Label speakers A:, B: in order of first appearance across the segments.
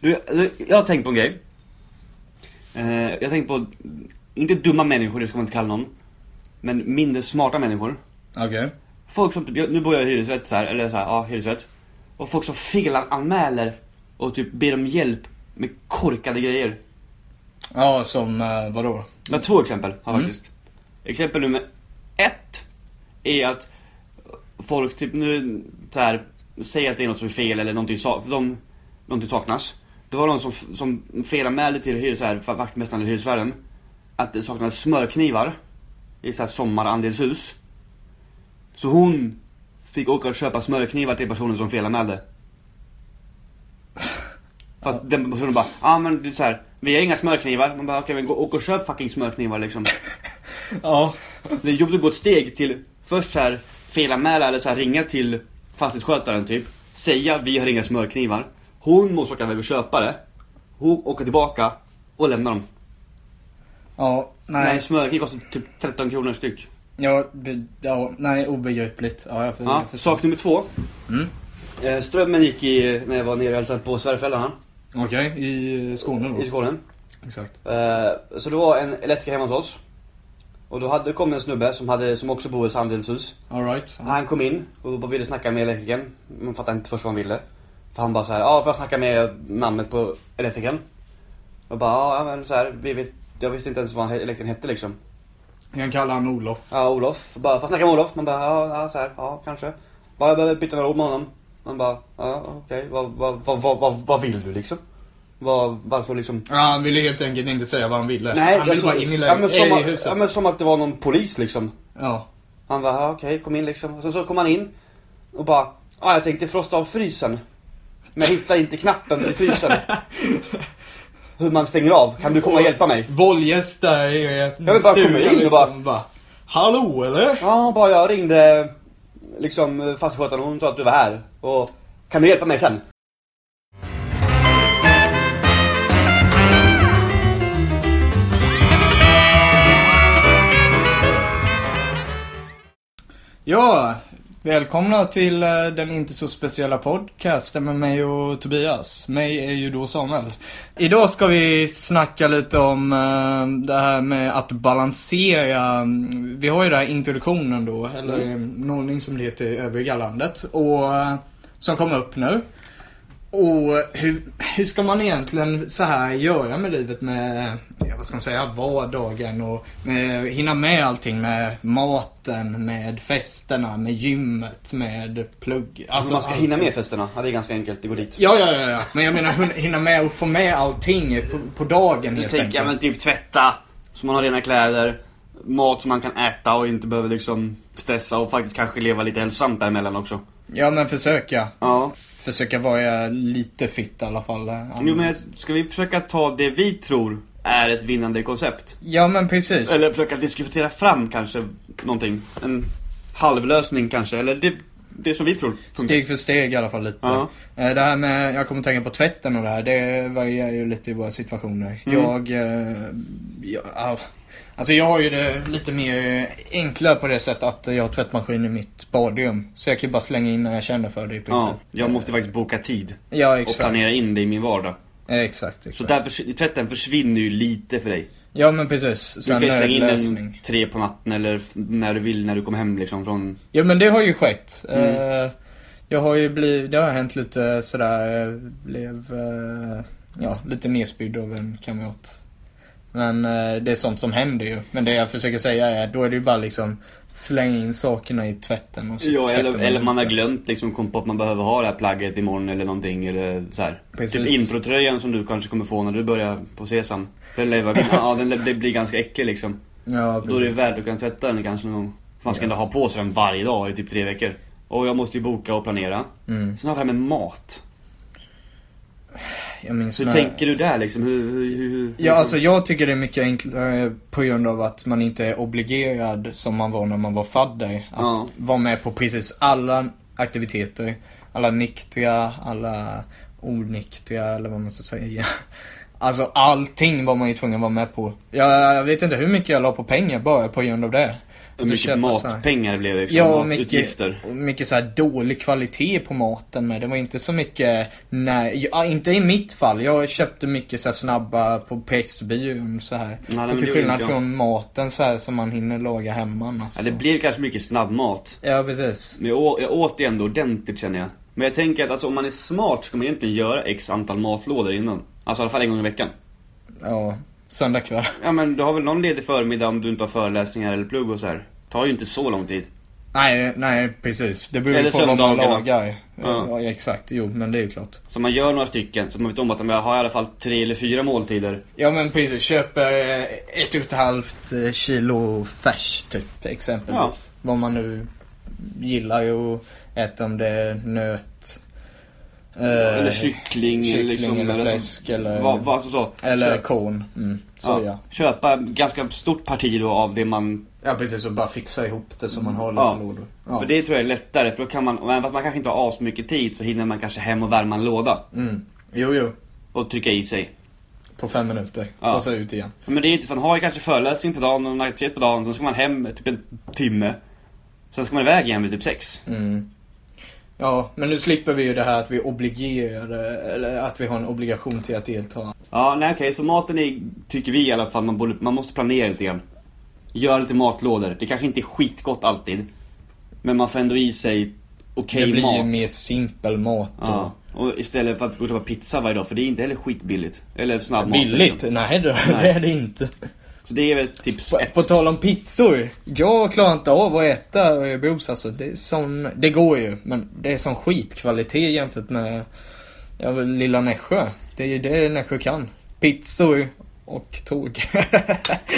A: Du, du, jag har tänkt på en grej. Eh, jag har tänkt på, inte dumma människor, det ska man inte kalla någon. Men mindre smarta människor.
B: Okej.
A: Folk som typ, jag- nu bor jag i hyresrätt så här, eller så här, ja hyresrätt. Och folk som felanmäler och typ ber om hjälp med korkade grejer.
B: Ja, som eh, vadå?
A: Jag har två exempel har jag faktiskt. Exempel nummer ett är att folk typ nu så här, säger att det är något som är fel eller någonting, sa- för de, någonting saknas. Det var någon som, som felanmälde till hyres, så här, för vaktmästaren eller hyresvärden att det saknades smörknivar i så här sommarandelshus. Så hon fick åka och köpa smörknivar till personen som felanmälde. För att den personen bara, ja ah, men det är så här, vi har inga smörknivar. Man bara, okej men gå, åk och köp fucking smörknivar liksom.
B: Ja.
A: Det är jobbigt att gå ett steg till, först så här felanmäla eller så här ringa till fastighetsskötaren typ. Säga, vi har inga smörknivar. Hon måste åka iväg och köpa det. Hon åker tillbaka och lämnar dem.
B: Ja,
A: Nej.
B: nej.
A: Men smörkniv kostar typ 13 kronor styck.
B: Ja, be, ja, nej, obegripligt. Ja, jag för,
A: Ja,
B: jag förstår.
A: sak nummer två.
B: Mm.
A: Eh, Strömmen gick i, när jag var nere och hälsade på Sverigeföräldrarna
B: Okej, i Skåne då?
A: i Skåne.
B: Exakt.
A: Eh, Så det var en elektriker hemma hos oss. Och då hade, det kom en snubbe som, hade, som också bor i ett handelshus.
B: Alright.
A: Han kom in och bara ville snacka med elektrikern. Man fattade inte först vad han ville. För han bara så här, ja får jag snacka med namnet på elektrikern? Och bara, ja men så här, vi vet, jag visste inte ens vad han- elektrikern hette liksom.
B: Jag kan kalla han Olof.
A: Ja, Olof. Bara, får jag snacka med Olof? Man bara, ja, ja så här, ja kanske. Bara, jag behöver byta några ord med honom. Man bara, ja okej, vad, vad, vad, vad, vad, vad vill du liksom? Vad, varför liksom?
B: Ja, han ville helt enkelt inte säga vad han ville.
A: Nej,
B: han ville
A: alltså,
B: bara in i,
A: ja, men
B: lägen-
A: som,
B: eller i
A: att- ja,
B: huset.
A: men som att det var någon polis liksom.
B: Ja.
A: Han bara, ja, okej, kom in liksom. Och sen så kom han in och bara, ja jag tänkte frosta av frysen. Men jag hittar inte knappen till frysen. Hur man stänger av. Kan du komma och hjälpa mig?
B: Voljest där i eh,
A: bara komma
B: stugan
A: in och bara-
B: Hallå eller?
A: Ja, han bara, jag ringde liksom fastighetsskötaren och hon sa att du var här. Och kan du hjälpa mig sen?
B: Alltså, Ja, välkomna till eh, den inte så speciella podcasten med mig och Tobias. Mig är ju då Samuel. Idag ska vi snacka lite om eh, det här med att balansera. Vi har ju den här introduktionen då, eller mm. nollning som det heter i övriga landet. Och eh, som kom upp nu. Och hur, hur ska man egentligen så här göra med livet med, ja, vad ska man säga, vardagen och med, hinna med allting med maten, med festerna, med gymmet, med plugg.
A: Alltså, man ska
B: allt.
A: hinna med festerna. Ja, det är ganska enkelt. Det går dit.
B: Ja, ja, ja, ja. Men jag menar hun- hinna med och få med allting på, på dagen
A: Jag
B: helt
A: tänker, ja,
B: enkelt.
A: men typ tvätta. Så man har rena kläder. Mat som man kan äta och inte behöver liksom stressa och faktiskt kanske leva lite hälsosamt däremellan också.
B: Ja, men försöka.
A: Ja.
B: Försöka vara lite fitt i alla fall.
A: Jo men ska vi försöka ta det vi tror är ett vinnande koncept?
B: Ja, men precis.
A: Eller försöka diskutera fram kanske någonting. En halvlösning kanske, eller det, det som vi tror funkar.
B: Steg för steg i alla fall lite.
A: Ja.
B: Eh, Det här med, jag kommer tänka på tvätten och det här, det varierar ju lite i våra situationer.
A: Mm.
B: Jag, eh, jag, au. alltså jag har ju det lite mer enklare på det sättet att jag har tvättmaskin i mitt badrum. Så jag kan ju bara slänga in när jag känner för det i princip.
A: Ja, jag måste faktiskt boka tid
B: Ja,
A: och
B: exakt.
A: planera in det i min vardag.
B: Eh, Exakt, exakt.
A: Så där förs- tvätten försvinner ju lite för dig.
B: Ja men precis.
A: Du kan
B: Sen
A: ju slänga in
B: nödlösning.
A: en tre på natten eller f- när du vill när du kommer hem liksom från...
B: Ja men det har ju skett.
A: Mm.
B: Eh, Jag har ju blivit, det har hänt lite sådär, eh, blev eh, ja, lite nedspydd av en kamrat. Men eh, det är sånt som händer ju. Men det jag försöker säga är, då är det ju bara liksom släng in sakerna i tvätten och så
A: Ja,
B: tvättar
A: eller, eller man har
B: ut det.
A: glömt liksom, kom på att man behöver ha det här plagget imorgon eller någonting eller så här.
B: Precis.
A: Typ introtröjan som du kanske kommer få när du börjar på Sesam. Den, lär vara- ja, den, lär- det blir ganska äcklig liksom.
B: Ja,
A: Då är det
B: precis.
A: värt att kunna tvätta den kanske någon gång. Man ska inte ha på sig den varje dag i typ tre veckor. Och jag måste ju boka och planera.
B: Mm.
A: Sen har vi det här med mat.
B: Jag minns
A: Så hur
B: när-
A: tänker du där liksom? Hur, hur, hur, hur,
B: Ja, alltså jag tycker det är mycket enklare på grund av att man inte är obligerad som man var när man var fadder. Att
A: Ja.
B: vara med på precis alla aktiviteter. Alla nyktra, alla onyktra eller vad man ska säga. Alltså allting var man ju tvungen att vara med på. Jag, jag vet inte hur mycket jag la på pengar bara på grund av det.
A: Hur mycket
B: köpa så här.
A: matpengar det blev liksom,
B: Ja, och mycket,
A: matutgifter.
B: och mycket så här dålig kvalitet på maten med. Det var inte så mycket, nej, ja, inte i mitt fall. Jag köpte mycket så här snabba på Pressbyrån så här.
A: nej, men
B: och
A: det
B: till
A: gjorde
B: skillnad
A: inte jag.
B: från maten så här som man hinner laga hemma alltså.
A: Ja, det blev kanske mycket snabbmat.
B: ja precis.
A: Men jag å- jag åt det ändå ordentligt känner jag. Men jag tänker att alltså, om man är smart ska man egentligen göra x antal matlådor innan. Alltså i alla fall en gång i veckan.
B: Ja, söndag kväll.
A: Ja men du har väl någon ledig förmiddag om du inte har föreläsningar eller plugg och så här. Tar ju inte så lång tid.
B: Nej, nej precis. Det beror
A: Eller
B: ju på vad man
A: söndagarna.
B: lagar. Ja.
A: Ja.
B: exakt. Jo, men det är ju klart.
A: Så man gör några stycken så man vet om att men jag har i alla fall tre eller fyra måltider.
B: Ja men precis, köper eh, ett och ett halvt eh, kilo färs typ exempelvis. Vad man nu gillar ju att äta om det är nöt. eh,
A: eller kyckling, eller,
B: kyckling
A: liksom,
B: eller
A: så-
B: fläsk eller-
A: Vad, vad, alltså så.
B: Eller
A: Köp-
B: korn. Mm, soja. Ja.
A: Köpa ganska stort parti då av det man
B: precis, och bara fixa ihop det så man har lite
A: Ja.
B: lådor. Ja.
A: För det tror jag är lättare, för då kan man, och även fast man kanske inte har asmycket tid så hinner man kanske hem och värma en låda
B: Mm. Jo, jo.
A: och trycka i sig.
B: På fem minuter.
A: Ja.
B: Och så ut igen.
A: Men det är inte, för man har ju kanske föreläsning på dagen och en aktivitet på dagen, sen ska man hem typ en timme. Sen ska man iväg igen vid typ sex.
B: Mm. Ja, men nu slipper vi ju det här att vi obligerar, eller att vi har en obligation till att delta.
A: Ja, nej okej, så maten är, tycker vi i alla fall, man, borde, man måste planera lite grann. Gör lite matlådor, det kanske inte är skitgott alltid. Men man får ändå i sig okej
B: det blir ju
A: mat.
B: mer simpel mat då.
A: Ja, och istället för att gå och köpa pizza varje dag, för det är inte heller skitbilligt. Eller snabbmat.
B: Billigt?
A: liksom.
B: Nej, då,
A: Nej.
B: det är det inte.
A: Så det är väl tips
B: På,
A: ett.
B: på tal om pizzor. Jag klarar inte av att äta Örebros alltså. Det, är sån, det går ju, men det är sån skitkvalitet jämfört med ja, väl, lilla Nässjö. Det är ju det Nässjö kan. Pizzor och tåg.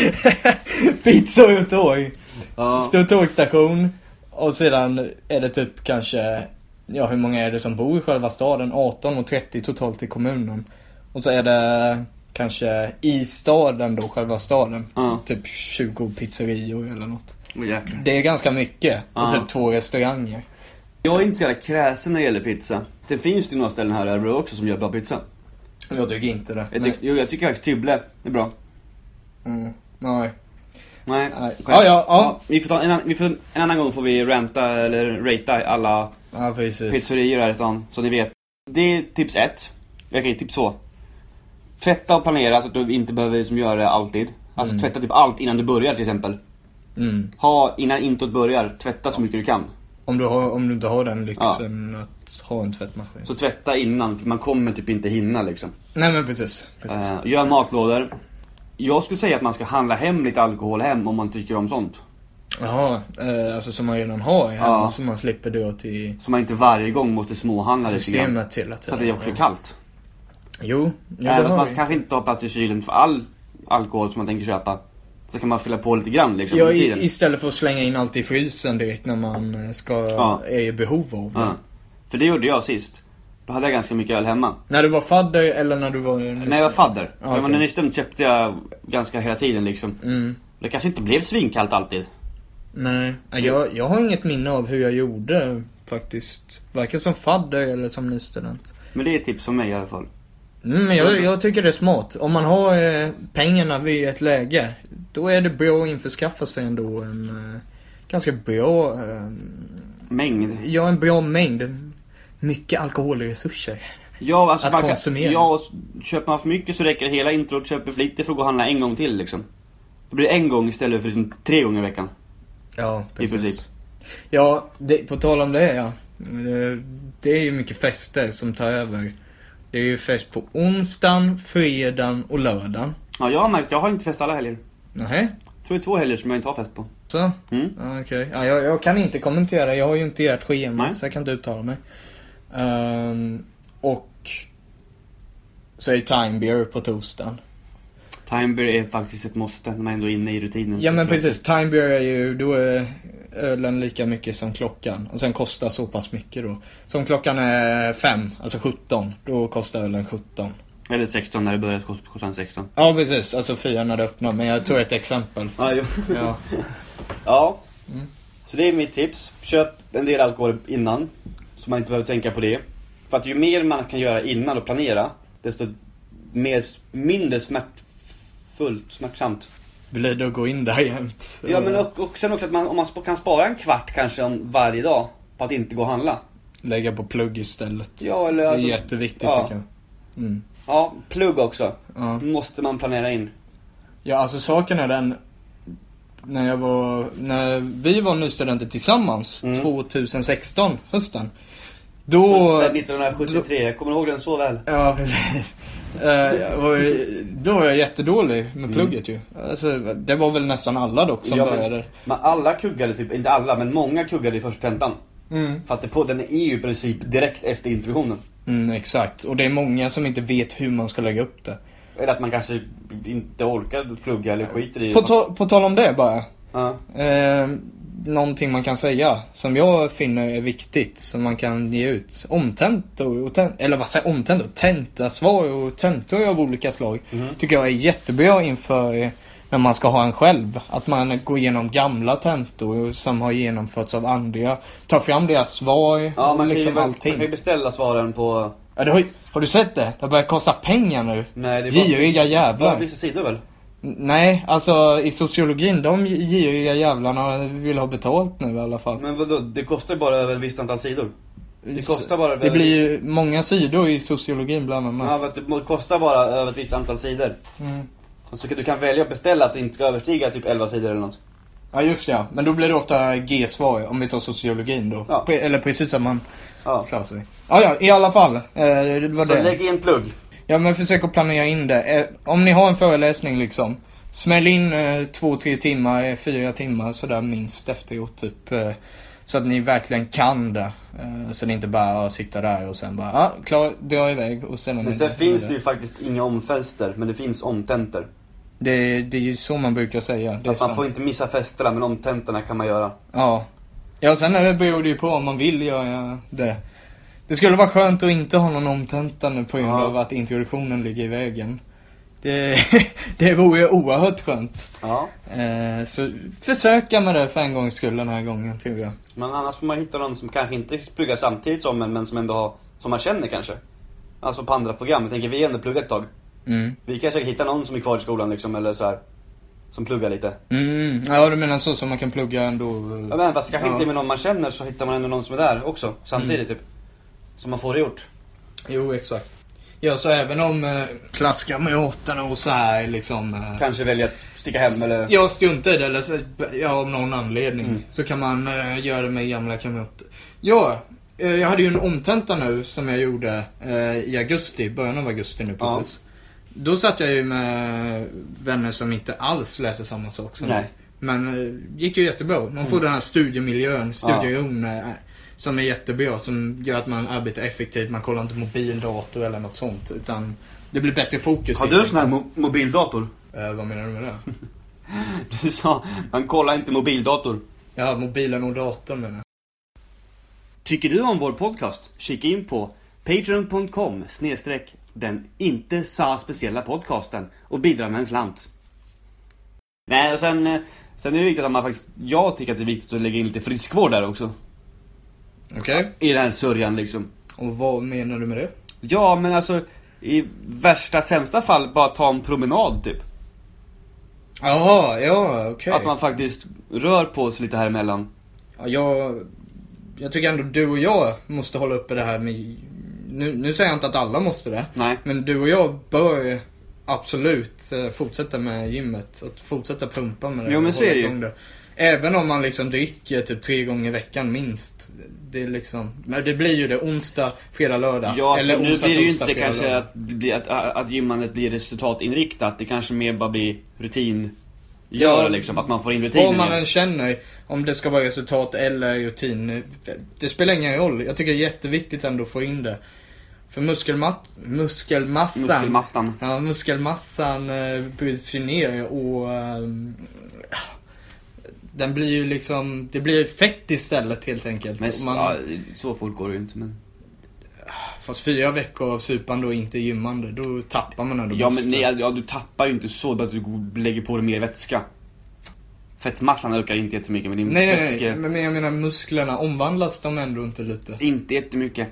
B: pizzor och tåg.
A: Ja.
B: Stor tågstation och sedan är det typ kanske, ja hur många är det som bor i själva staden? 18 och 30 totalt i kommunen. Och så är det kanske i staden då, själva staden.
A: Ja.
B: Typ 20 pizzerior eller något.
A: Åh, jäklar.
B: Det är ganska mycket.
A: Ja.
B: Och typ två restauranger.
A: jag är inte så jävla kräsen när det gäller pizza. Sen finns det ju några ställen här i Örebro också som gör bra pizza.
B: Jag tycker inte det.
A: Jag,
B: Men-
A: tyck, jo, jag tycker faktiskt Tybble är bra.
B: mm, nej.
A: Nej.
B: Nej.
A: själv.
B: Ja, ja, ja.
A: vi får ta en, annan- vi får, en annan gång får vi ranta eller ratea alla
B: Ja precis.
A: pizzerior här i stan, så ni vet. Det är tips ett. Okej, tips två. Tvätta och planera så att du inte behöver liksom göra det alltid. Alltså
B: Mm.
A: tvätta typ allt innan du börjar till exempel.
B: Mm.
A: Ha, innan intot börjar, tvätta så mycket du kan.
B: Om, du har, om du inte har den lyxen att ha en tvättmaskin.
A: Så tvätta innan, för man kommer typ inte hinna liksom.
B: Nej men precis. precis.
A: Eh, gör matlådor. Jag skulle säga att man ska handla hem lite alkohol hem om man tycker om sånt.
B: Jaha, eh, alltså som man redan har hemma
A: Ja.
B: så man slipper dra till
A: Så man inte varje gång måste småhandla lite grann.
B: systemet hela tiden.
A: Så att det är också kallt.
B: Jo, jo det
A: Även om
B: har
A: man
B: vi.
A: kanske inte har plats i kylen för all alkohol som man tänker köpa. Så kan man fylla på lite grann liksom
B: Ja,
A: under tiden.
B: i, istället för att slänga in allt i frysen direkt när man eh, ska,
A: Ja.
B: är i behov av det.
A: Ja. För det gjorde jag sist. Då hade jag ganska mycket öl hemma.
B: När du var fadder eller när du var... liksom-
A: När jag var fadder.
B: Ja,
A: När jag var
B: okej.
A: nykter köpte jag ganska hela tiden liksom.
B: Mm.
A: Det kanske inte blev svinkallt alltid.
B: Nej, Ja, jag, jag har inget minne av hur jag gjorde faktiskt. Varken som fadder eller som ny student.
A: Men det är ett tips från mig i alla fall.
B: Mm, men jag, jag tycker det är smart. Om man har eh, pengarna vid ett läge, då är det bra att införskaffa sig ändå en eh, ganska bra eh,
A: Mängd.
B: Jag har en bra mängd. Mycket alkoholresurser.
A: Ja, alltså
B: Att
A: man kan-
B: konsumera.
A: Ja, och s- köper man för mycket så räcker hela introt. Köper för lite får gå och handla en gång till liksom. Då blir det en gång istället för liksom tre gånger i veckan.
B: Ja,
A: princip.
B: Ja, det, på tal om det ja. Eh, Det är ju mycket fester som tar över. Det är ju fest på onsdagen, fredagen och lördagen.
A: Ja, jag har märkt. Jag har inte fest alla helger.
B: Nähä?
A: Jag tror det är två helger som jag inte har fest på.
B: Så?
A: Mm.
B: Ja, Okej. Ja, jag, jag kan inte kommentera. Jag har ju inte ert schema
A: Nej.
B: så jag kan inte uttala mig. Ehm, och så är det time beer på torsdagen.
A: Timebeer är faktiskt ett måste när man ändå är inne i rutinen.
B: Ja men precis, time beer är ju, då är ölen lika mycket som klockan. Och sen kostar så pass mycket då. Så om klockan är fem, alltså 17, då kostar ölen 17.
A: Eller 16 när det börjar, kost- kostar den 16.
B: Ja precis, alltså fyra när det öppnar. Men jag tog ett exempel.
A: Ja, jo.
B: Ja.
A: ja.
B: Mm.
A: Så det är mitt tips. Köp en del alkohol innan. Så man inte behöver tänka på det. För att ju mer man kan göra innan och planera, desto mer, mindre smärtfullt, smärtsamt
B: blir att gå in där jämt.
A: Ja men och, och sen också att man, om man sp- kan spara en kvart kanske om varje dag på att inte gå och handla.
B: Lägga på plugg istället.
A: Ja, eller
B: det är
A: alltså-
B: jätteviktigt
A: ja.
B: tycker jag. Mm.
A: Ja, plugg också.
B: Ja.
A: Måste man planera in.
B: ja, alltså saken är den. När jag var, när vi var nystudenter tillsammans
A: Mm.
B: 2016, hösten. Då...
A: Hösten 1973, jag kommer ihåg den så väl.
B: Ja, precis. Eh, jag var ju- då var jag jättedålig med plugget ju. Alltså, det var väl nästan alla dock som
A: Mm. Ja, men-
B: började.
A: Men alla kuggade typ, inte alla men många kuggade i första tentan.
B: Mm.
A: För att det på, den är ju i princip direkt efter introduktionen.
B: Mm, exakt. Och det är många som inte vet hur man ska lägga upp det.
A: Eller att man kanske inte orkar plugga eller skiter i
B: På,
A: det.
B: ta- på tal om det bara.
A: ja.
B: Eh, någonting man kan säga som jag finner är viktigt som man kan ge ut. Omtentor, och ten- eller vad säger jag, omtentor? Tentasvar och tentor av olika slag.
A: Mhm.
B: Tycker jag är jättebra inför eh, när man ska ha en själv. Att man går igenom gamla tentor som har genomförts av andra. Tar fram deras svar
A: ja,
B: och
A: man,
B: liksom
A: kan ju, man
B: allting.
A: kan ju beställa svaren på...
B: Ja, det har, ju- har du sett det? Det börjar kosta pengar nu.
A: Nej, det är bara-
B: Giriga
A: Bara
B: E, jävlar.
A: vissa sidor väl?
B: N- Nej, alltså i sociologin, de giriga jävlarna vill ha betalt nu i alla fall.
A: Men vadå, det kostar ju bara över ett visst antal sidor. Det kostar bara
B: Det blir ju många sidor i sociologin bland
A: Ja,
B: annat.
A: men det må- kostar bara över ett visst antal sidor.
B: Mm.
A: Och så kan- du kan välja att beställa att det inte ska överstiga typ 11 sidor eller något.
B: Ja just ja, men då blir det ofta G-svar om vi tar sociologin då.
A: Ja.
B: Pre- Eller precis som man
A: Ja.
B: klarar sig. Ja, ja, i alla fall. Eh, det var
A: Så
B: det.
A: lägg in plugg.
B: Ja men försök att planera in det. Eh, om ni har en föreläsning liksom. Smäll in eh, två, tre timmar, eh, fyra timmar sådär minst efteråt typ. Eh, så att ni verkligen kan det. Eh, så det inte bara att sitta där och sen bara, ja, klar, dra iväg och sen...
A: Men sen finns det ju faktiskt inga omfester, men det finns omtenter.
B: Det, det är ju så man brukar säga. Det är
A: Att man
B: sant.
A: får inte missa festerna, men omtentorna kan man göra.
B: Ja. Ja, sen är det- beror det ju på om man vill göra det. Det skulle vara skönt att inte ha någon omtenta nu på grund
A: Ja.
B: av att introduktionen ligger i vägen. Det, det vore ju oerhört skönt.
A: Ja.
B: Eh, så försöka med det för en gångs skull den här gången tror jag.
A: Men annars får man hitta någon som kanske inte pluggar samtidigt som en, men som ändå har, som man känner kanske. Alltså på andra program. Jag tänker, vi har ändå pluggat ett tag.
B: Mm.
A: Vi kanske hittar någon som är kvar i skolan liksom, eller så här. Som pluggar lite.
B: Mm, ja du menar så som man kan plugga ändå?
A: Ja men fast kanske
B: Ja.
A: inte med någon man känner så hittar man ändå någon som är där också, samtidigt typ. Så man får det gjort.
B: Jo, exakt. Ja, så även om eh, klasskamraterna och så här liksom... Eh,
A: Kanske välja att sticka hem eller...
B: Jag struntar i det eller så, ja, av någon anledning.
A: Mm.
B: Så kan man eh, göra det med gamla kamrater. Ja, eh, jag hade ju en omtenta nu som jag gjorde eh, i augusti, början av augusti nu
A: Ja.
B: precis. Då satt jag ju med vänner som inte alls läser samma sak som
A: Nej. Mm.
B: mig. Men eh, gick ju jättebra. Man får den här studiemiljön, studieron eh, som är jättebra. Som gör att man arbetar effektivt, man kollar inte mobil, dator eller något sånt. Utan det blir bättre fokus.
A: Har
B: i
A: du en
B: det.
A: sån här mo- mobildator?
B: eh, vad menar du med det?
A: Du sa, man kollar inte mobildator.
B: Ja, mobilen och datorn menar jag.
A: Tycker du om vår podcast? Kika in på patreon.com snedstreck den inte sa speciella podcasten och bidra med en slant. Nej, och sen, eh, sen är det viktigt att man faktiskt, jag tycker att det är viktigt att lägga in lite friskvård där också.
B: Okej.
A: I den här sörjan liksom.
B: Och vad menar du med det?
A: Ja, men alltså i värsta sämsta fall bara ta en promenad typ.
B: Jaha, ja okej.
A: Att man faktiskt rör på sig lite här emellan.
B: Ja, jag, jag tycker ändå du och jag måste hålla uppe det här med... Nu, nu säger jag inte att alla måste det.
A: Nej.
B: Men du och jag bör absolut eh, fortsätta med gymmet. Att fortsätta pumpa med det.
A: Jo, men
B: och
A: så är
B: hålla
A: det ju.
B: igång Även om man liksom dricker typ tre gånger i veckan minst. Det är liksom... Men det blir ju det onsdag, fredag, lördag.
A: Ja, alltså, nu
B: onsdag,
A: blir det ju
B: torsdag,
A: inte
B: fredag,
A: kanske
B: lördag.
A: att, det blir- att, att gymmandet blir resultatinriktat. Det kanske mer bara blir rutin. Gör
B: Ja.
A: liksom, att man får in rutinen
B: Vad man
A: igen.
B: än känner, om det ska vara resultat eller rutin. Det spelar ingen roll. Jag tycker det är jätteviktigt ändå att få in det. För muskelmat- muskelmassan,
A: Muskelmattan.
B: Ja, muskelmassan eh, bryts ju ner och ehm, den blir ju liksom, det blir fett istället helt enkelt.
A: Men
B: Och
A: man...
B: man,
A: ja, så fort går det ju inte. Men...
B: Fast fyra veckor av supande och inte gymmande, då tappar man ändå
A: Ja, men
B: muskler.
A: nej, ja, du tappar ju inte så bara att du går- lägger på dig mer vätska. Fettmassan ökar inte jättemycket, men din
B: nej, nej,
A: vätske...
B: nej, men jag menar musklerna, omvandlas de ändå inte lite?
A: Inte jättemycket.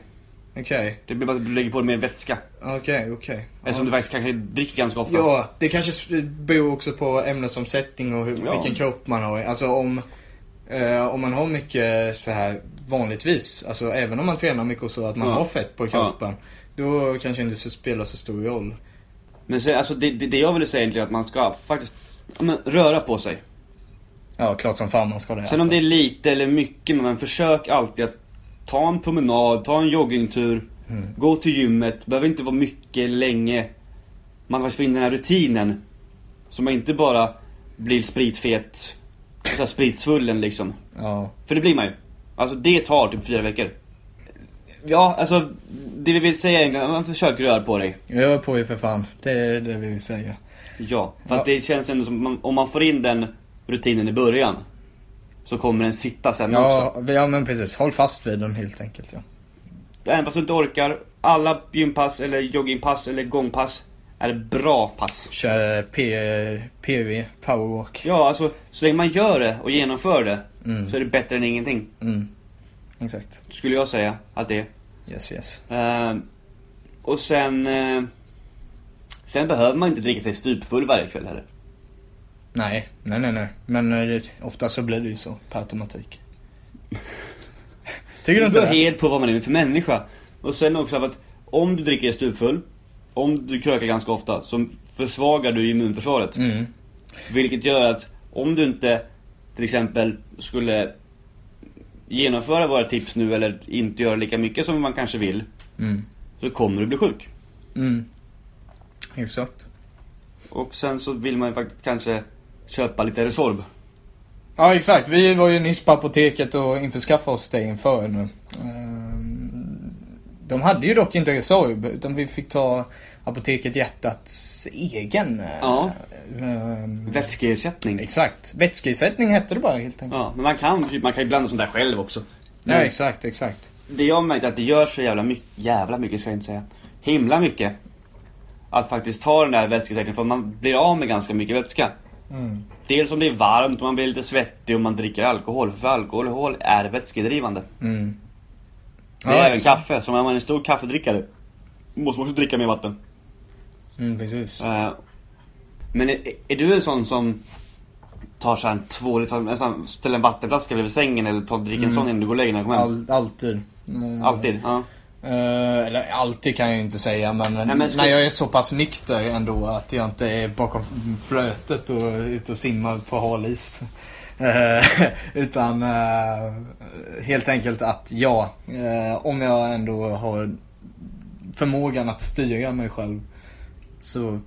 B: Okej,
A: Det blir bara att du lägger på det mer vätska.
B: okej, okej.
A: Eftersom du faktiskt kanske dricker ganska ofta.
B: Ja, det kanske s- beror också på ämnesomsättning och hur,
A: Ja.
B: vilken kropp man har. Alltså om, eh, om man har mycket så här vanligtvis, alltså även om man tränar mycket och så, att man
A: Ja.
B: har fett på
A: Ja.
B: kroppen. Då kanske det inte så spelar så stor roll.
A: Men sen, alltså, det, det, det jag ville säga egentligen är att man ska faktiskt ja, men, röra på sig.
B: Ja, klart som fan man ska det. alltså.
A: Sen om det är lite eller mycket, men försök alltid att ta en promenad, ta en joggingtur,
B: Mm.
A: gå till gymmet. behöver inte vara mycket eller länge. Man faktiskt får in den här rutinen. Så man inte bara blir spritfet, så här spritsvullen liksom.
B: Ja.
A: För det blir man ju. Alltså det tar typ fyra veckor. Ja, alltså det vi vill säga egentligen, man försöker röra på dig.
B: Rör på er för fan. Det är det vi vill säga.
A: Ja, för
B: Ja.
A: att det känns ändå som, man, om man får in den rutinen i början. Så kommer den sitta sen också.
B: Ja, vi- ja, men precis. Håll fast vid den helt enkelt. Ja.
A: Även fast du inte orkar, alla gympass eller joggingpass eller gångpass är bra pass.
B: Kör P- PV, powerwalk.
A: Ja, alltså så länge man gör det och genomför det
B: Mm.
A: så är det bättre än ingenting.
B: Mm. Exakt.
A: Skulle jag säga att det är.
B: Yes, yes.
A: Ehm, och sen... eh, sen behöver man inte dricka sig stupfull varje kväll heller.
B: Nej, nej, nej, nej. Men eh, det- ofta så blir det ju så per automatik. Tycker du
A: Det
B: inte
A: beror
B: det?
A: helt på vad man är för människa. Och sen också av att om du dricker stupfull, om du krökar ganska ofta, så försvagar du immunförsvaret.
B: Mm.
A: Vilket gör att om du inte till exempel skulle genomföra våra tips nu eller inte göra lika mycket som man kanske vill,
B: Mm.
A: så kommer du bli sjuk.
B: Mm. Exakt.
A: Och sen så vill man ju faktiskt kanske köpa lite Resorb.
B: Ja, exakt. Vi var ju nyss på apoteket och införskaffade oss det inför nu. Ehm, De hade ju dock inte Resorb, utan vi fick ta Apoteket Hjärtats egen. eh,
A: Ja.
B: ehm,
A: Vätskeersättning.
B: Exakt. Vätskeersättning hette det bara helt enkelt.
A: Ja, men man kan ju man kan ju blanda sånt där själv också.
B: Ja,
A: Men
B: exakt, exakt.
A: Det jag märkt är att det gör så jävla mycket, jävla mycket ska jag inte säga, himla mycket. Att faktiskt ta den där vätskesäkringen för man blir av med ganska mycket vätska.
B: Mm.
A: Dels om det är varmt och man blir lite svettig och man dricker alkohol. För alkohol är vätskedrivande.
B: Mm.
A: Det är även
B: exakt.
A: kaffe, så om man är en stor kaffedrickare måste man också dricka mer vatten.
B: Mm, precis.
A: Eh, Men är, är du en sån som tar så här en två, eller tar, en sån, ställer en vattenflaska bredvid sängen eller tar, dricker
B: Mm.
A: en sån innan du går och lägger dig när du kommer hem?
B: All, alltid. Mm.
A: Alltid? Ja.
B: Eh, eller alltid kan jag ju inte säga men,
A: men ska-
B: när jag är så pass nykter ändå att jag inte är bakom flötet och ute och simmar på hal is. Eh, utan eh, helt enkelt att ja, eh, om jag ändå har förmågan att styra mig själv så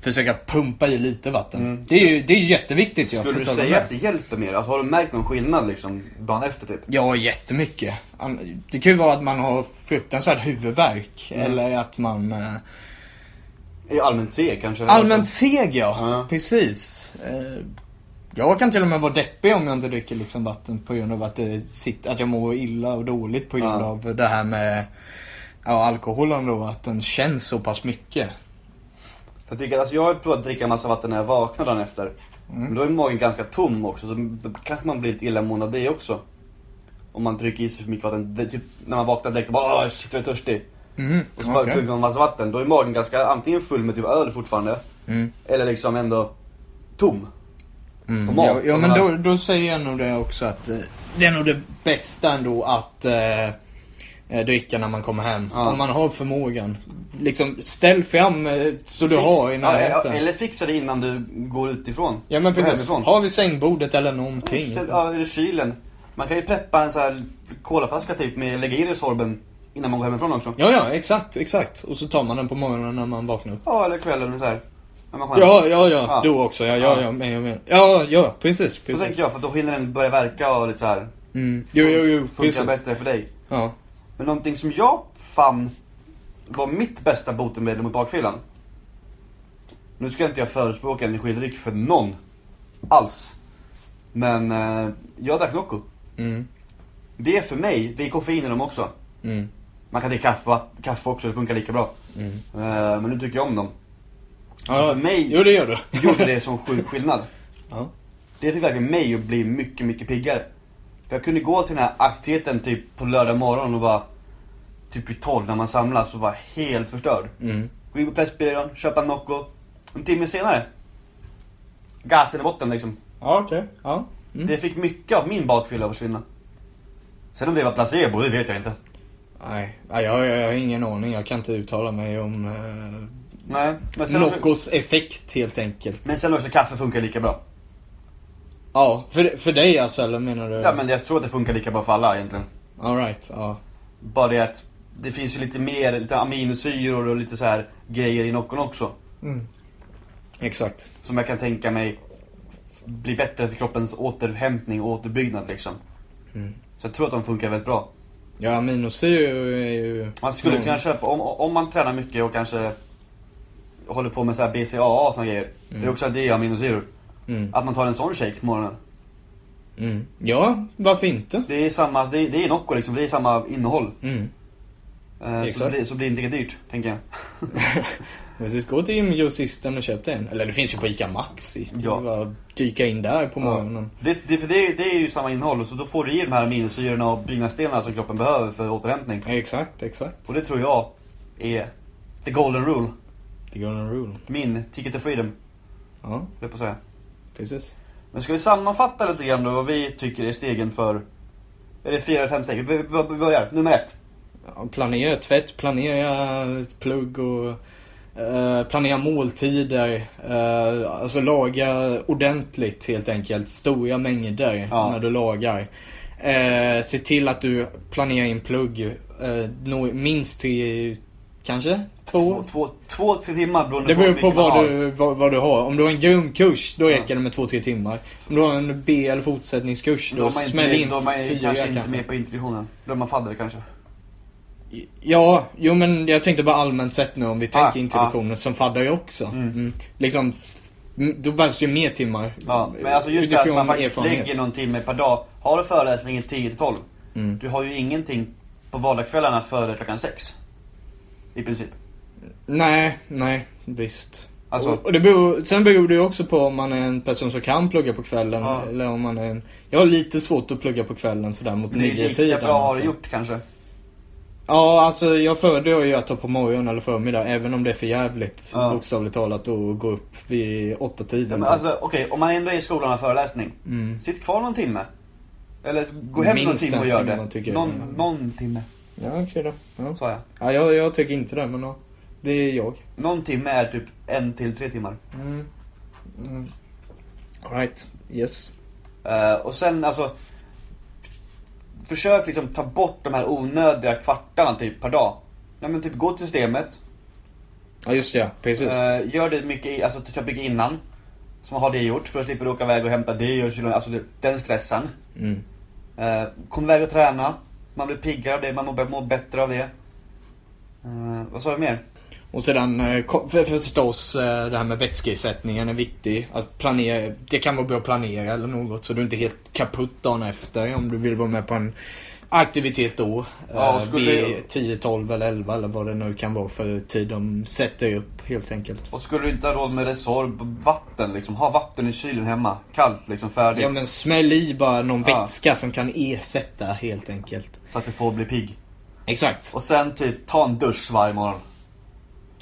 B: försöka pumpa i lite vatten.
A: Mm.
B: Det är ju det är ju jätteviktigt. jag
A: Skulle du
B: får tala om
A: säga
B: det.
A: att det hjälper mer? Alltså, har du märkt någon skillnad liksom dagen efter typ?
B: Ja, jättemycket. An- Det kan ju vara att man har fruktansvärd huvudvärk
A: Mm.
B: eller att man... eh,
A: I allmänt seg kanske?
B: Allmänt seg ja,
A: alltså- Ja.
B: precis. Eh, Jag kan till och med vara deppig om jag inte dricker liksom vatten på grund av att, det sitter, att jag mår illa och dåligt på grund
A: Ja.
B: av det här med ja, alkoholen då, att den känns så pass mycket.
A: Jag tycker, alltså jag har provat att dricka massa vatten när jag vaknar dagen efter.
B: Mm.
A: Men då är magen ganska tom också, så då kanske man blir lite illamående av det också. Om man trycker i sig för mycket vatten. Det, är typ, när man vaknar direkt och bara "Åh, shit jag är törstig.
B: Mm.
A: Och så bara
B: okej.
A: klunkar man massa vatten. Då är magen ganska antingen full med typ öl fortfarande.
B: Mm.
A: Eller liksom ändå tom.
B: Mm.
A: på mat,
B: Ja, ja
A: om
B: men
A: man
B: då,
A: har-
B: då säger jag nog det också att eh, det är nog det bästa ändå att eh, eh, dricka när man kommer hem.
A: Ja.
B: Om man har förmågan. Liksom ställ fram eh, så du
A: Fix-
B: har
A: ja,
B: i
A: ja,
B: närheten. Ja,
A: Eller fixa det innan du går utifrån.
B: men
A: Går
B: precis.
A: hemifrån.
B: Har vi sängbordet eller någonting.
A: Ja, eller kylen. Man kan ju preppa en sån här kolaflaska typ med lägga i Resorben innan man går hemifrån också.
B: Ja, ja, exakt, exakt. Och så tar man den på morgonen när man vaknar upp.
A: Ja, eller kvällen eller så här. När man kommer hem.
B: Ja, ja, ja,
A: Ja.
B: då också. Ja, ja,
A: Ja.
B: ja, men jag menar. Ja, ja, precis,
A: Så
B: precis.
A: tänker jag, för då hinner den börja verka och lite så här.
B: Mm. Jo, jo, jo,
A: Funkar
B: precis.
A: bättre för dig.
B: Ja.
A: Men någonting som jag fann var mitt bästa botemedel mot bakfyllan. Nu ska inte jag förespråka energidryck för någon. Alls. Men eh, jag drack Nocco.
B: Mm.
A: Det är för mig, det är koffein i dem också.
B: Mm.
A: Man kan dricka kaffe, kaffe också, det funkar lika bra.
B: Mm.
A: Eh, men nu tycker jag om dem.
B: Ja,
A: För mig-
B: Jo, det gör du.
A: Gjorde det som sjuk skillnad.
B: Ja.
A: Det fick verkligen mig att bli mycket, mycket piggare. För jag kunde gå till den här aktiviteten typ på lördag morgon och bara typ vid 12 när man samlas och var helt förstörd.
B: Mm.
A: Gå in på Pressbyrån, köpa en Nocco. En timme senare. Gasen i botten liksom.
B: Ja, okej. Ja. Mm.
A: Det fick mycket av min bakfylla att försvinna. Sen om det var placebo, det vet jag inte.
B: Nej, Nej, jag, jag har ingen aning. Jag kan inte uttala mig om eh,
A: Nej, men sen, också,
B: Noccos effekt helt enkelt.
A: men sen också kaffe funkar lika bra.
B: Ja, för, för dig alltså eller menar du?
A: Ja men jag tror att det funkar lika bra för alla egentligen.
B: Alright, ja.
A: Bara det att det finns ju lite mer, lite aminosyror och lite så här grejer i Noccon också.
B: Mm. Exakt.
A: Som jag kan tänka mig blir bättre för kroppens återhämtning och återbyggnad liksom.
B: Mm.
A: Så jag tror att de funkar väldigt bra.
B: Ja, aminosyror är ju...
A: Man skulle
B: Mm.
A: kunna köpa, om, om man tränar mycket och kanske håller på med så här BCAA och såna grejer. Det är också att det är aminosyror.
B: Mm.
A: Att man tar en sån shake på morgonen.
B: Mm. Ja, varför inte?
A: Det är samma, det är, det är Nocco liksom, det är samma innehåll.
B: Mm.
A: Eh, så, det
B: Exakt.
A: blir, så blir det inte lika dyrt, tänker jag.
B: Precis, gå till gymgrossisten och köp dig en. Eller det finns ju på ICA Maxi. Det är
A: Ja.
B: bara att dyka in där på morgonen.
A: Det, det, för det, det är ju samma innehåll, så då får du i de här aminosyrorna och byggnadsdelarna som kroppen behöver för återhämtning.
B: Exakt, exakt.
A: Och det tror jag är the golden rule.
B: The golden rule.
A: Min ticket to freedom, höll
B: Ja,
A: jag på att säga.
B: precis.
A: Men ska vi sammanfatta lite grann då vad vi tycker är stegen för... Är det fyra eller fem steg? Vi, vi vi börjar, nummer ett.
B: Ja, planera tvätt, planera plugg och eh, planera måltider. Eh, alltså laga ordentligt helt enkelt. Stora mängder
A: Ja.
B: när du lagar. Eh, se till att du planerar in plugg. Eh, nå- minst tre, kanske? Två?
A: Två, två, två tre timmar beroende
B: Oh. Det beror på
A: vilken man
B: vad
A: har.
B: du, vad, vad du har. Om du har en grundkurs, då
A: Ja.
B: räcker det med 2-3 timmar. Om du har en B eller fortsättningskurs,
A: Då
B: då
A: är man, inte,
B: smäll
A: med-
B: in
A: då är man ju
B: fyra
A: kanske inte med på introduktionen. Då är man fadder kanske.
B: Ja, jo men jag tänkte bara allmänt sett nu om vi tänker
A: Ah,
B: introduktionen som faddar ju också.
A: Mm.
B: Mm. Liksom, mm, då behövs ju mer timmar.
A: Ja, men alltså just det att
B: Eh, Utifrån
A: man faktiskt
B: erfarenhet.
A: lägger någon timme per dag. Har du föreläsningen 10 till 12,
B: Mm.
A: du har ju ingenting på vardagskvällarna före klockan 6. I princip.
B: Nej, nej, visst.
A: Alltså-
B: och, och det beror, sen beror det ju också på om man är en person som kan plugga på kvällen
A: Ja.
B: eller om man är en... Jag har lite svårt att plugga på kvällen sådär mot
A: Men det är ju
B: nio
A: lika
B: tiden. alltså.
A: bra har du gjort kanske.
B: Ja, alltså jag föredrar ju att ta på morgonen eller förmiddag även om det är för jävligt
A: Ja.
B: bokstavligt talat och gå upp vid åtta
A: Ja,
B: tiden.
A: men alltså okej, om man ändå är i skolan och har föreläsning.
B: Mm.
A: Sitt kvar någon timme. Eller gå hem
B: Minst
A: någon timme
B: en
A: och gör
B: timme,
A: det.
B: tycker jag.
A: Någon, någon timme,
B: Ja, okej då. Ja.
A: sa jag.
B: Ja, jag, jag tycker inte det, men ja, det är jag.
A: Någon timme är typ en till tre timmar.
B: Mm. Mm. Alright, yes.
A: Eh, och sen alltså. Försök liksom ta bort de här onödiga kvartarna typ per dag. Ja men typ gå till systemet.
B: Ja, just det, ja. precis.
A: Eh, gör det mycket, i- alltså typ mycket innan. Så man har det gjort, för då slipper du åka iväg och hämta det och kyla- alltså det- den stressen.
B: Mm.
A: Eh, kom iväg och träna. Man blir piggare av det, man mår, bä- mår bättre av det. Eh, vad sa vi mer?
B: Och sedan eh, ko- för- för förstås eh, det här med vätskeersättningen är viktig. Att planera, det kan vara bra att planera eller något så du inte är helt kaputt dagen efter om du vill vara med på en aktivitet då.
A: Ja, och
B: Eh,
A: skulle-
B: vid 10, 12 eller 11 eller vad det nu kan vara för tid de sätter upp helt enkelt.
A: Och skulle du inte ha råd med Resorb, vatten liksom. Ha vatten i kylen hemma. Kallt liksom, färdigt.
B: Ja men smäll i bara någon
A: Ja.
B: vätska som kan ersätta helt enkelt.
A: Så att du får bli pigg.
B: Exakt.
A: Och sen typ, ta en dusch varje morgon.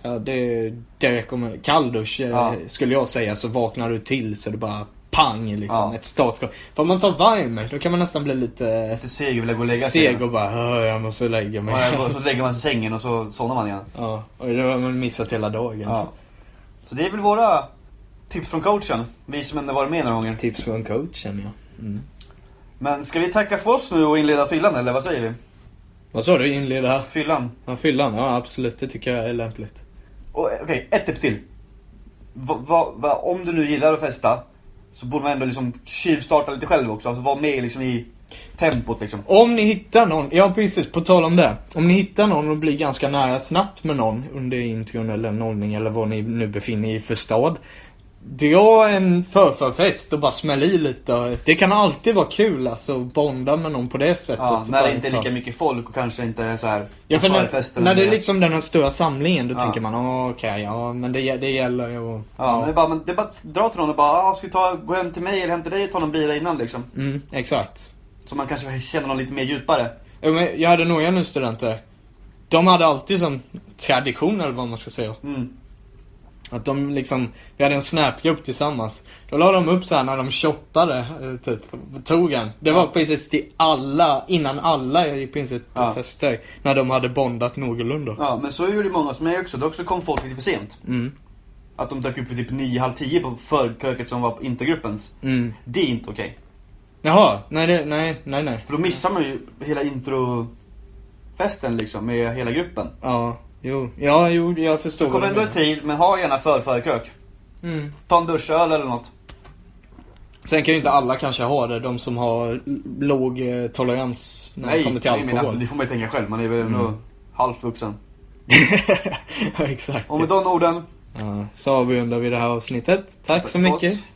B: Ja, det, det kommer, kalldusch eh,
A: Ja.
B: skulle jag säga så vaknar du till så det bara pang liksom.
A: Ja.
B: Ett startskott. För om man tar varm då kan man nästan bli lite
A: Lite seg vill jag gå och lägga
B: seg och bara "Åh, jag måste lägga
A: Och jag går-
B: mig.
A: Så lägger man sig i sängen och så somnar man igen.
B: Ja, och då har man missat hela dagen.
A: Ja. Så det är väl våra tips från coachen. Vi som ändå varit med några gånger.
B: Tips från coachen ja. Mm.
A: Men ska vi tacka för oss nu och inleda fyllan eller vad säger vi?
B: Vad sa du? Inleda
A: Fyllan.
B: ja, fyllan? Ja absolut, det tycker jag är lämpligt.
A: Och, eh, Okej, ett tips till. Va, va, va, om du nu gillar att festa så borde man ändå liksom tjuvstarta lite själv också. Alltså vara med liksom i tempot liksom.
B: Om ni hittar någon, ja precis, på tal om det. Om ni hittar någon och blir ganska nära snabbt med någon under intron eller nollning eller vad ni nu befinner er i för stad. Dra en förförfest och bara smäll i lite. Det kan alltid vara kul alltså att bonda med någon på det sättet.
A: Ja, när
B: Bara
A: det inte är
B: ta-
A: lika mycket folk och kanske inte är så här
B: Ja, för
A: förfester
B: när, när
A: och
B: det är
A: mer.
B: liksom den här stora samlingen då
A: Ja.
B: tänker man "Ah, okej, ja men det, gä- det gäller ju att...
A: Ja, men det är bara, men det är bara att dra till någon och bara, ah, ska vi ta, gå hem till mig eller hem till dig och ta någon bira innan liksom.
B: Mm, exakt.
A: Så man kanske känner någon lite mer djupare.
B: Ja, men Jag hade några nu studenter. de hade alltid sån tradition eller vad man ska säga.
A: Mm.
B: Att de liksom, vi hade en snapgrupp tillsammans. Då la de upp så här när de shottade, eh, typ. Tog en. Det var precis till alla, innan alla gick på princip på
A: Ja.
B: fester. När de hade bondat någorlunda.
A: Ja, men så gjorde ju många som mig också. Dock så kom folk lite för sent.
B: Mm.
A: Att de dök upp för typ 9, halv 10 på förköket som var på intergruppens.
B: Mm.
A: Det är inte okej.
B: Jaha, nej det, nej, nej nej.
A: För då missar man ju hela introfesten liksom med hela gruppen.
B: Ja, jo, ja jo jag förstår
A: Så kom
B: vad du
A: ändå i
B: menar.
A: tid, men ha gärna förförkök.
B: Mm.
A: Ta en duschöl eller något.
B: Sen kan ju inte alla kanske ha det, de som har låg eh, tolerans när det kommer till
A: nej men alltså,
B: alkohol.
A: det får man ju tänka själv. Man är väl ändå
B: Mm.
A: halvt vuxen.
B: ja, exakt.
A: Och med de orden.
B: Ja, så avrundar vi det här avsnittet. Tack,
A: Tack
B: så
A: för oss.
B: mycket.